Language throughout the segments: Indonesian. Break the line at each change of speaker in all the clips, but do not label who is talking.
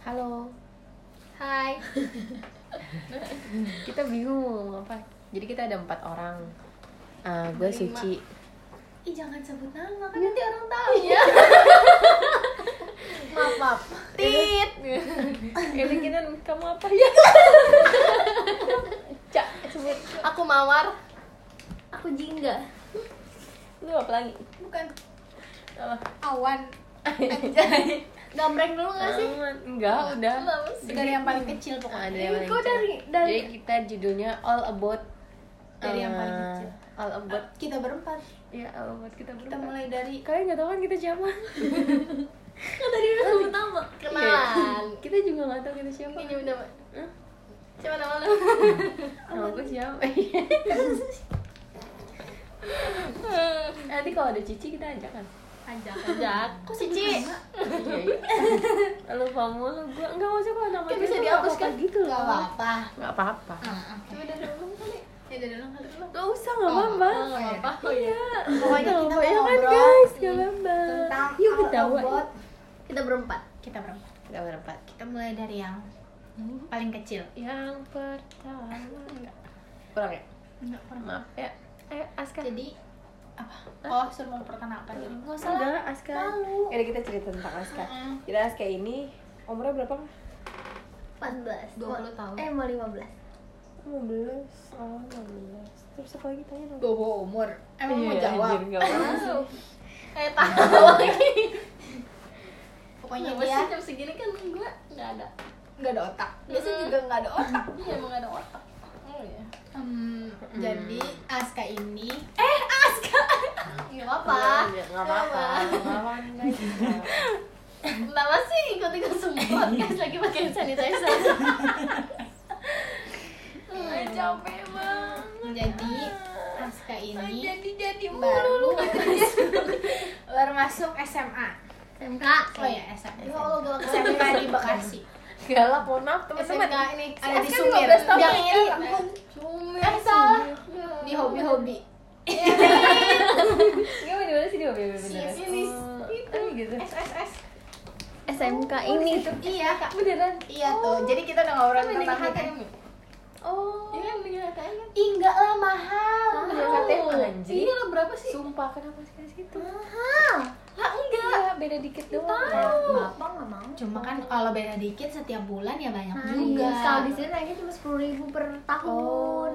Halo,
Hai.
kita bingung mau ngomong apa. Jadi kita ada empat orang. Ah, gue
Lima.
Suci.
Ih jangan sebut nama kan nanti orang tahu ya. maaf maaf.
Tit. Ini kita kamu apa ya? Cak, sebut.
Aku mawar. Aku jingga.
Lu apa lagi?
Bukan
Apa?
awan. Anjay. Oh, Gambreng dulu gak sih?
Aman. Enggak, udah.
Belum sih. Dari Iya. yang paling kecil
Ah,
pokoknya.
dari yang
Ih,
paling
kok
kecil.
dari dari
Jadi kita judulnya All About
Dari yang paling
eh,
kecil.
All About
kita berempat.
Ya, All About kita
Kita
berempat
mulai dari
Kalian gak tau kan kita siapa?
kan tadi udah sebut nama. Kenalan.
Iya. Kita juga gak tau kita siapa
Ini nyebut nama.
Hah?
Siapa nama lu?
Nama gue siapa? Nanti kalau ada Cici kita ajak kan?
Ajak, ajak. Kok sih, Ci?
Lupa mulu gue Enggak usah kalau nama
Kan
dia
bisa
tuh
dihapus
nggak apa-apa
kan?
gitu loh
Nggak apa-apa.
Gak apa-apa
Coba dari ulang kali. Ah, Ya dari ulang kali ulang.
Gak usah, gak
Oh,
apa-apa
oh, nggak apa-apa. Oh,
Iya Nggak
Pokoknya kita
apa-apa,
mau
ya kan,
ngobrol
guys Gak apa-apa
tentang
Yuk
all
ketawa
about kita berempat. Kita berempat.
Kita berempat
Kita mulai dari yang paling kecil.
Yang pertama Enggak Kurang ya?
Enggak pernah.
Maaf ya Ayo
Eh,
Aska
Jadi apa? Oh, suruh memperkenalkan diri. Enggak usah
Udah
lah.
Aska
Malu.
Yaudah kita cerita tentang Aska
Mm-mm.
Jadi Aska ini umurnya berapa kah?
14
20 tahun.
eh mau 15
15 Oh 15 Terus apa lagi tanya dong?
Bawa umur. Emang mau
Iya,
jawab?
anjir, nggak apa-apa.
Eh, tahu lagi. Pokoknya
Kenapa
dia
sih jam segini kan gue nggak ada
nggak ada otak. Biasanya juga nggak ada otak.
Iya emang nggak ada otak Oh iya
Hmm, Jadi Aska ini eh Aska
Iya,
nggak apa-apa
Iya, Nggak apa-apa Nggak apa-apa kan, guys. Nggak apa-apa.
Kenapa sih ikut-ikut semua podcast lagi pakai sanitizer Ay, capek banget
jadi Aska ini
jadi-jadi
baru baru masuk SMA
SMK
oh ya SMA
Ya Allah, galak banget.
SMA di Bekasi
Galak, mohon maaf teman-teman
SMK ini ada di
kan
Sumir
15 tahun
Jangan-
ya,
eh,
Kak.
bukan.
Cumi
eh salah di hobi-hobi
Gimana dimana sih Iya, dia bener beneran?
Sini, eh,
itu gitu
SSS
SMK ini tuh
iya kak
Beneran?
iya
Oh.
tuh jadi kita udah ngobrol
Mending
tentang kan?
HTM
kita
Oh
Iya mendingan HTM kan
Ih, enggak lah mahal
Mendingan HTM anjing
Iya lah berapa sih?
Sumpah, kenapa sih kayak gitu?
mahal
Lah enggak
Iya, beda dikit
Nah,
doang
Bapak nggak mau
cuma kan kalau beda dikit setiap bulan ya banyak
Nah,
juga
iya. Kalau di sini naiknya cuma sepuluh ribu per tahun.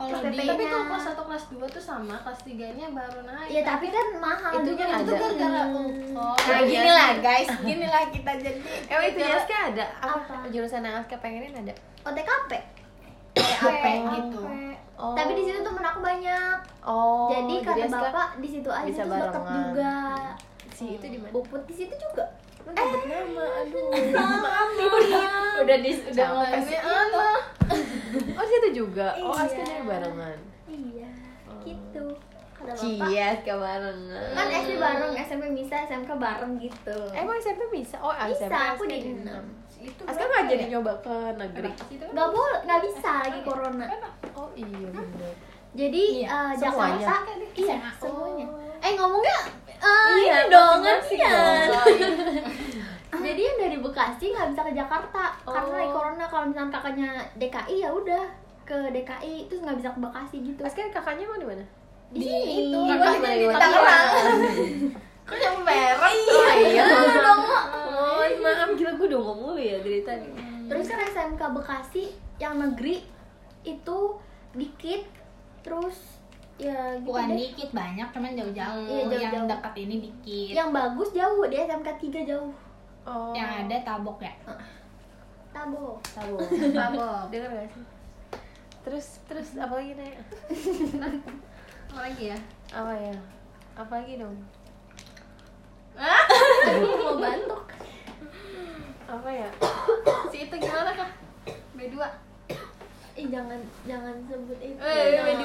kalau
Terus
di Nah. tapi
PP-nya. Tapi kalau kelas 1 kelas 2 tuh sama, kelas 3-nya baru naik. Iya tapi kan mahal
Itu
juga
kan
itu
ada.
kan gara
Oh,
iya.
nah gini lah guys, gini lah kita jadi
Emang Eh, itu Aska ada?
Apa?
Apa? Jurusan yang Aska pengenin ada?
OTKP.
HP gitu.
Oh.
Tapi di situ temen aku banyak.
Oh,
jadi karena
Aska
bapak di situ aja
bisa
terus tetap
barengan.
juga.
Si itu di mana?
Buput di situ juga. Eh,
Nyebut nama, aduh. Maaf nih, udah udah di udah ngepes. Oh, situ juga. Oh,
Iya.
Aska dari barengan.
Iya, gitu. Kata bapak.
Iya, Aska barengan.
Kan SD bareng, SMP bisa, SMK bareng gitu.
Emang SMP bisa? Oh,
Bisa,
SMP
aku
Aska
di
di
enam.
Itu
Aska nggak
ya?
jadi nyoba ke negeri.
Itu
Gak boleh, gak bisa lagi corona.
Oh iya bener.
Iya,
Jadi eh,
semuanya.
Jakarta iya semuanya. Eh ngomongnya
Oh. Iya,
iya dong
masing-masing
kasihan.
dong.
Jadi yang dari Bekasi nggak bisa ke Jakarta karena
Oh.
lagi corona. Kalau misalnya kakaknya DKI ya udah ke DKI terus nggak bisa ke Bekasi gitu.
Aska kakaknya mau di mana?
Di sini itu.
Gua
Kakak
jadi
boleh
di
lewat.
Tangerang. Kok yang merah?
Oh iya.
dong.
Oh, maaf gila gue dongeng mulu ya dari tadi.
Terus kan SMK Bekasi yang negeri itu dikit terus ya gitu
Bukan
deh.
dikit banyak, cuman jauh-jauh.
Iya, jauh-jauh.
Yang dekat ini dikit.
Yang bagus jauh di SMK 3 jauh.
Oh.
Yang ada tabok ya.
Tabo.
Tahu.
Tabok.
Dengar gak sih? Terus terus apa lagi Nek?
Apa lagi ya?
Apa ya? Apa lagi dong?
Hah?
mau bantuk.
Apa ya?
Si itu gimana kah? B2.
Eh jangan jangan sebut itu.
Eh, B2.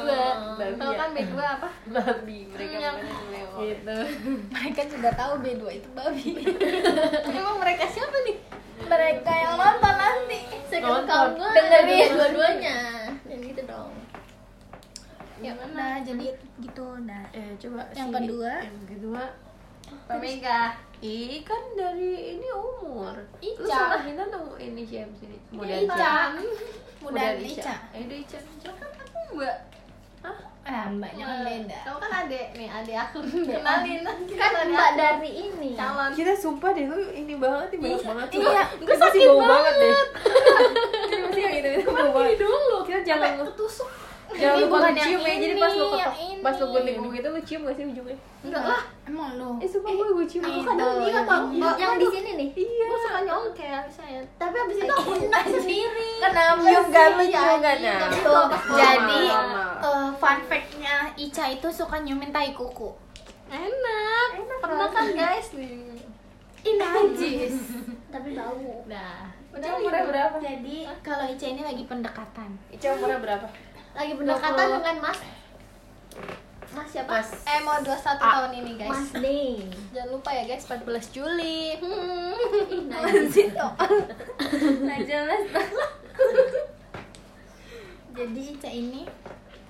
Babi
Tahu
ya?
kan B2 apa?
Babi mereka
Iya.
bukan yang lewat.
Gitu. Mereka juga tahu B2 itu babi. Emang mereka siapa nih?
mereka yang nonton nanti second
Nonton.
count gue
Dengerin.
dengerin dua-duanya dan gitu dong
Ya, nah, jadi gitu. Nah,
Eh coba
Yang
si-
kedua.
Yang kedua Omega. Ih kan dari ini umur.
Ica. Iya,
Lu salahin nemu ini siapa sini? Muda
Ica.
Muda
Mudah Ica.
Ica. Eh, udah Ica. Ica kan aku Eh, Mbak. Hah?
Ah, mbaknya kan beda.
Kamu kan adek nih, adek aku. Kenalin.
kan mbak dari ini
Calon.
Kita sumpah deh lu ini banget nih banyak banget.
iya,
gue sakit bau banget deh. Iya, Ini pasti yang itu itu bau banget. dulu. Kita jangan
Ketusuk.
jangan
Ini
lupa
bukan
lu cium
yang
ya. Jadi
ini,
pas lu
yang
ketok,
ini.
pas lu gunting buku itu lu cium gak sih ujungnya?
Enggak lah.
Emang lu.
Eh sumpah gue gue cium.
Aku kadang dia tau.
yang di sini nih
Iya.
Gue suka nyongkel, sayang.
tapi abis itu Iya. aku
Nah, sendiri.
Kenapa cium gak lu cium gak nah?
Tuh,
Jadi
Normal, normal.
eh, fun fact-nya Ica itu suka nyumin tai kuku.
Enak. Pernah kan guys nih.
Ini najis.
tapi bau
Udah.
Udah umurnya berapa?
Nah, Jadi kalau Ica ini lagi pendekatan.
Ica umurnya berapa?
lagi berdekatan
Bau.
dengan mas mas Eh, siapa
Mas.
Eh mau 21
Ah.
tahun ini guys.
mas Ding
Jangan lupa ya guys, 14 Juli. Hmm.
Nah jelas.
Jadi Ica ini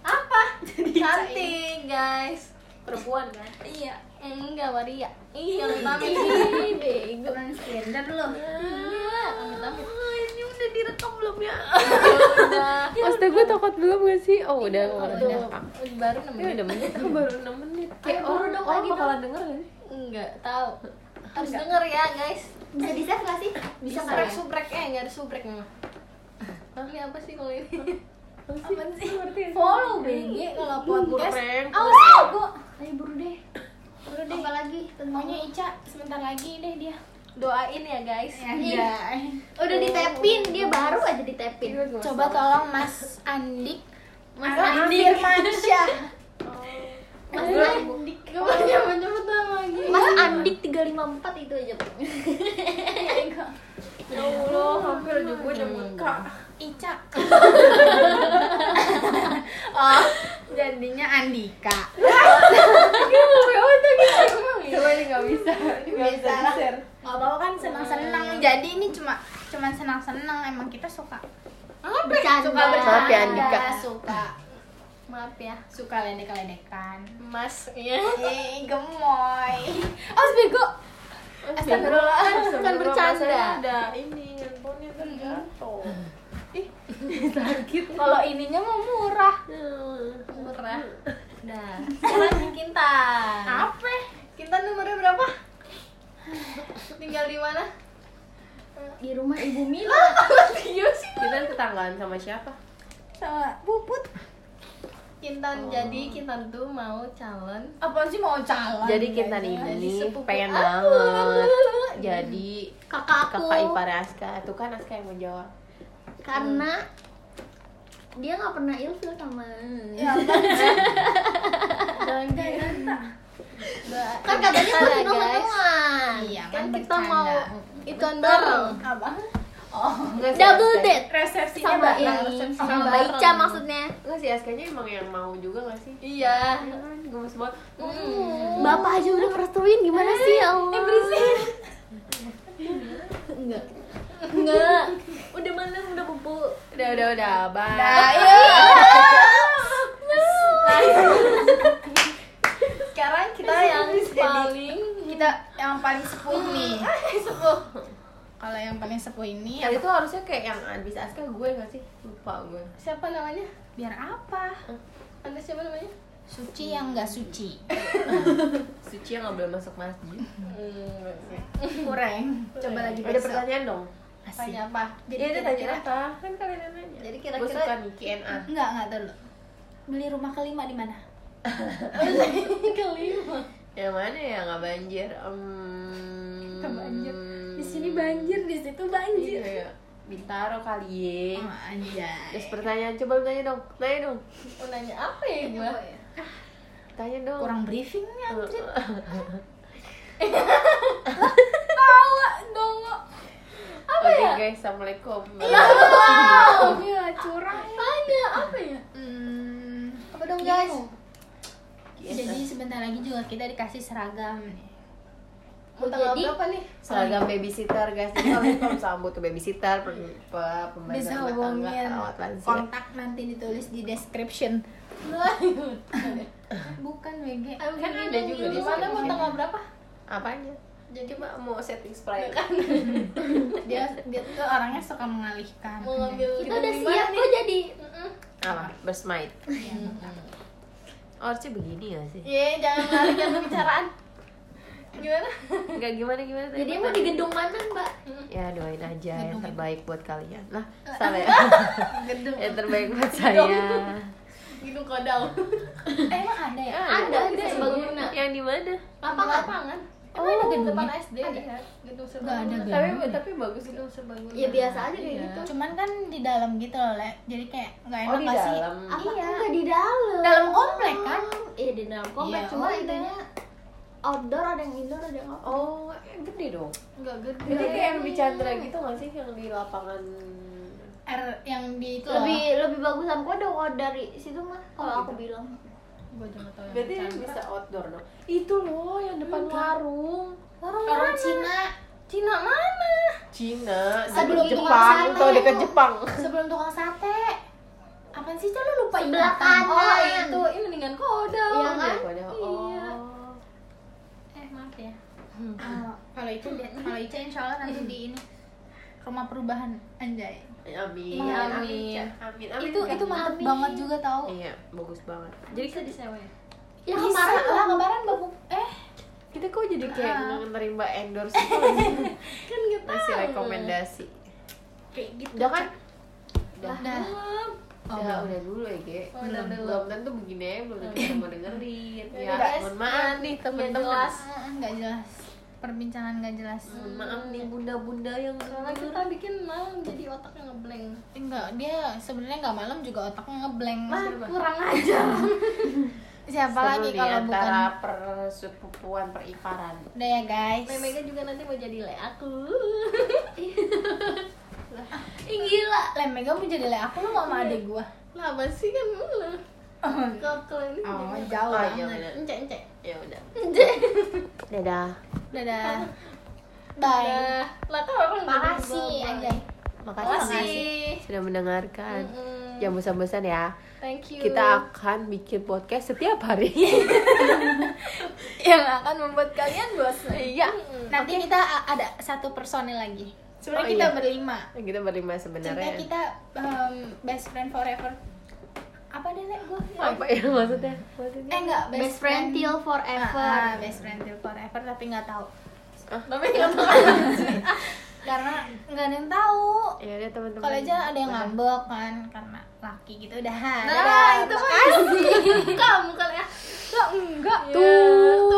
Apa? Cantik guys.
Perempuan kan?
Iya. Enggak, Maria. Iya,
bego transgender loh.
Iya. amit-amit.
Ini udah direkam belum ya?
Udah.
Maksudnya gue takut belum gak sih? Oh udah,
Iya,
udah,
udah.
udah.
Baru 6
Ini
menit.
udah menit, baru 6 menit Kayak
Ayo, buru
orang,
dong,
orang
lagi
bakalan denger gak sih?
Enggak tahu. Harus denger ya, guys.
bisa di save nggak sih bisa
Bisa
nggak
ya?
ya?
subrek subrek eh enggak ada subrek mah. Ini apa sih kalau ini?
Apa sih? Ngerti ya?
Follow
Iya,
BG kalau podcast.
Prank.
Awas aku.
Oh, ayo buru deh
Buru deh.
apa lagi
Pokoknya Ica sebentar lagi deh dia. Iya,
Doain ya, guys.
Iya, udah ditepin dia baru aja ditepin
Coba tolong Mas Andik. Mas
Andik.
Firmansyah.
mas Andik
Gimana nyebut nama lagi?
mas Andik 354 itu aja Bu.
Ya Allah, hampir aja gue demi kak
Ica. oh, jadinya Andika.
Coba ini gak bisa Gak bisa di-share
Gak apa-apa kan senang-senang. Jadi ini cuma cuman senang-senang emang kita suka.
bercanda
Suka
Maaf ya, Andika.
Suka
Maaf ya.
suka ledek-ledekan.
Mas, ya.
iya.
Eh, gemoy. Oh, bego.
Oh, Astagfirullah Kan
Bukan bercanda.
Masalahnya Ada ini, handphonenya kan, ntar jatuh
Kalau ininya mau murah.
Murah. Udah.
Nah.
Sekarang nih Kintan.
Apa?
Kintan nomornya berapa? Tinggal di mana?
di rumah ibu Mila
Iya sih.
Kita tetanggaan sama siapa?
Sama puput.
Oh.
Kintan jadi Kintan tuh mau calon
Apaan sih mau calon? Iya,
Jadi kita
guys?
ini
sepupu
pengen
aku.
banget Jadi
kakak aku
kakak ipar Aska Tuh kan Aska yang menjawab
karena dia nggak pernah ilfil sama
iya, kan
Jangan Kintan.
kan katanya
Bercanda,
buat
guys.
teman-teman
Iya,
Kan
kan
kita
bercanda.
mau ituan bareng.
Abang
Enggak sih,
double
Aska.
date
resepsinya
sama
bakal
ini
resepsi.
sama
bareng.
Ica maksudnya
Enggak sih, Askanya emang yang mau juga gak sih?
Iya.
Iya kan, gemes banget
bapak aja udah ngerestuin gimana sih ya Allah enggak enggak
Udah malam, udah bubu.
Udah, udah, udah, bye
Nah, iya.
Sekarang kita yang paling
Kita yang paling sepuh nih. Kalau yang paling sepuh ini ya.
Kali Nah, itu harusnya kayak yang abis Aska gue gak sih? Lupa gue
siapa namanya?
biar apa?
Anda siapa namanya?
Suci yang enggak suci.
Suci yang gak boleh masuk masjid
Kurang. Coba lagi
Ada
besok.
pertanyaan dong?
Asik.
Tanya apa?
Jadi
Iya, dia tanya
kira-kira-
apa? Kan kalian yang nanya
Jadi
Gue
kira-kira
suka nih, KNA
Enggak, enggak dulu. Beli rumah kelima di mana?
kelima.
Yang mana ya gak banjir? Hmm...
Gak banjir. banjir, di situ banjir.
Iya, iya. Bintaro kali ye
Oh, anjay.
Terus pertanyaan, coba lu tanya dong Tanya dong
Mau nanya apa ya gua?
Iya. Tanya dong
Iya, Kurang briefingnya.
Iya. Oke guys, Assalamualaikum
Wow, gila curang.
Tanya apa ya?
Hmm, Iya,
Apa dong guys?
jadi sebentar lagi juga kita dikasih seragam nih.
Mau tanggal
Jadi-
berapa nih?
seragam babysitter guys jadi kalau kamu sama butuh babysitter pe- pe- pembantu
Bisa
rumah tangga
hubungin
perawat lansia
kontak nanti ditulis di description.
Lah,
Bukan WG.
kan
ada juga
Mana
di
mau
Kan description.
tanggal berapa?
Apanya?
Jadi Mbak mau setting spray kan?
dia dia tuh orangnya suka mengalihkan
Mau ngambil
Kita udah
dari mana
siap
nih?
kok jadi
Apa? Bersmite.
Iya,
Orci begini gak sih?
Iya, jangan melarikan pembicaraan. Gimana?
Enggak gimana gimana tadi
Jadi mau di gedung mana mbak?
Ya doain aja yang
Gedung.
terbaik buat kalian. Lah, salah ya.
gedung
yang terbaik buat saya.
Gitu kodau.
eh, emang ada ya
Ah,
Ada,
ya.
di Serbaguna.
Yang di mana?
Lapangan. Lapangan.
Emang ada gedungnya?
depan SD lihat gedung serbaguna.
ada
Tapi
gedungnya.
tapi bagus gedung serbaguna.
Ya biasa aja kayak
Iya.
gitu.
cuman kan di dalam gitu loh le jadi kayak nggak
Oh,
enak
di
nggak sih
dalam.
Apa enggak Iya. di dalam?
Dalam komplek, kan?
Iya Iya. di dalam komplek.
Iya,
Cuma
oh, iya.
intinya outdoor ada yang indoor ada yang
Oh,
outdoor.
eh, gede dong.
Enggak gede.
Jadi kayak yang di Chandra gitu gak sih yang di lapangan
R yang di itu
Lebih
loh.
lebih bagusan gua dong kalau dari situ mah kalau aku bilang.
Gua juga nggak tahu yang
Berarti
di
yang
sana.
bisa outdoor dong. Itu loh yang depan warung.
orang Cina
Cina mana?
Cina, sebelum
Sebelum itu
Jepang,
kesana
atau dekat
itu.
Jepang.
sebelum tukang sate apa sih Cah? lu lupa
Sebelah
ingatan?
kanan.
oh iya.
Itu ini dengan kodau.
Iya
Oh,
kan?
daripada-
Iya.
Oh.
eh maaf ya
Hmm.
Kalau- kalau itu kalau Ica insya Allah nanti di ini rumah perubahan anjay
Ya, Amin.
Amin.
Amin. Amin. Amin.
Iya.
itu itu mantep banget juga tau
Iya, bagus banget.
Jadi bisa disewa ya?
Ya
Bisa
kemarin
lah kemarin babu eh
Kita kok jadi kayak
Ah.
ngenerima endorse gitu gak sih?
Kan nggak tahu.
Masih rekomendasi.
kayak gitu
Udah kan?
udah
Oh, udah, udah dulu ya, Ge.
Oh, udah dulu.
Belum tentu begini ya, belum tentu kita mau dengerin.
Ya
Ya,
udah, guys.
mohon maaf nih temen-temen.
jelas.
Ah, nggak jelas perbincangan nggak jelas
Mohon maaf nih bunda-bunda yang
Karena kita
gitu,
bikin malam jadi otaknya ngeblank.
enggak dia sebenarnya nggak malam juga otaknya ngeblank
kurang aja.
siapa lagi kalau bukan
antara persepupuan periparan.
udah ya guys
Memega juga nanti mau jadi le aku.
Ih, gila lemega mau jadi le aku lu mau sama adik gua
Lah masih kan lu. Kalau kalian ini
oh
jadi-
jauh
Oh, iya
banget
bener.
Encek encek.
Ya udah. Dadah.
dadah bye
Nah, lah kan orang udah
makasih
berubah.
anjay
Makasih ya, sudah mendengarkan.
Mm-mm.
Jangan bosan-bosan ya.
Thank you.
Kita akan bikin podcast setiap hari.
yang akan membuat kalian bosan
Iya.
nanti kita a- ada satu personil lagi sebenarnya
Oh,
kita
iya.
berlima
Kita berlima
cinta
sebenarnya.
kita um, best friend forever apa deh le gua
Apa ya maksudnya? Maksudnya?
eh enggak best,
best friend till
Ah, ah,
forever.
best friend till forever tapi nggak tahu
Tapi nggak tahu.
karena nggak ada yang tahu
Ya udah teman-teman.
kalau aja ada yang ngambek kan karena laki gitu udah
Nah, itu mah. Kamu kali ya.
enggak
Tuh.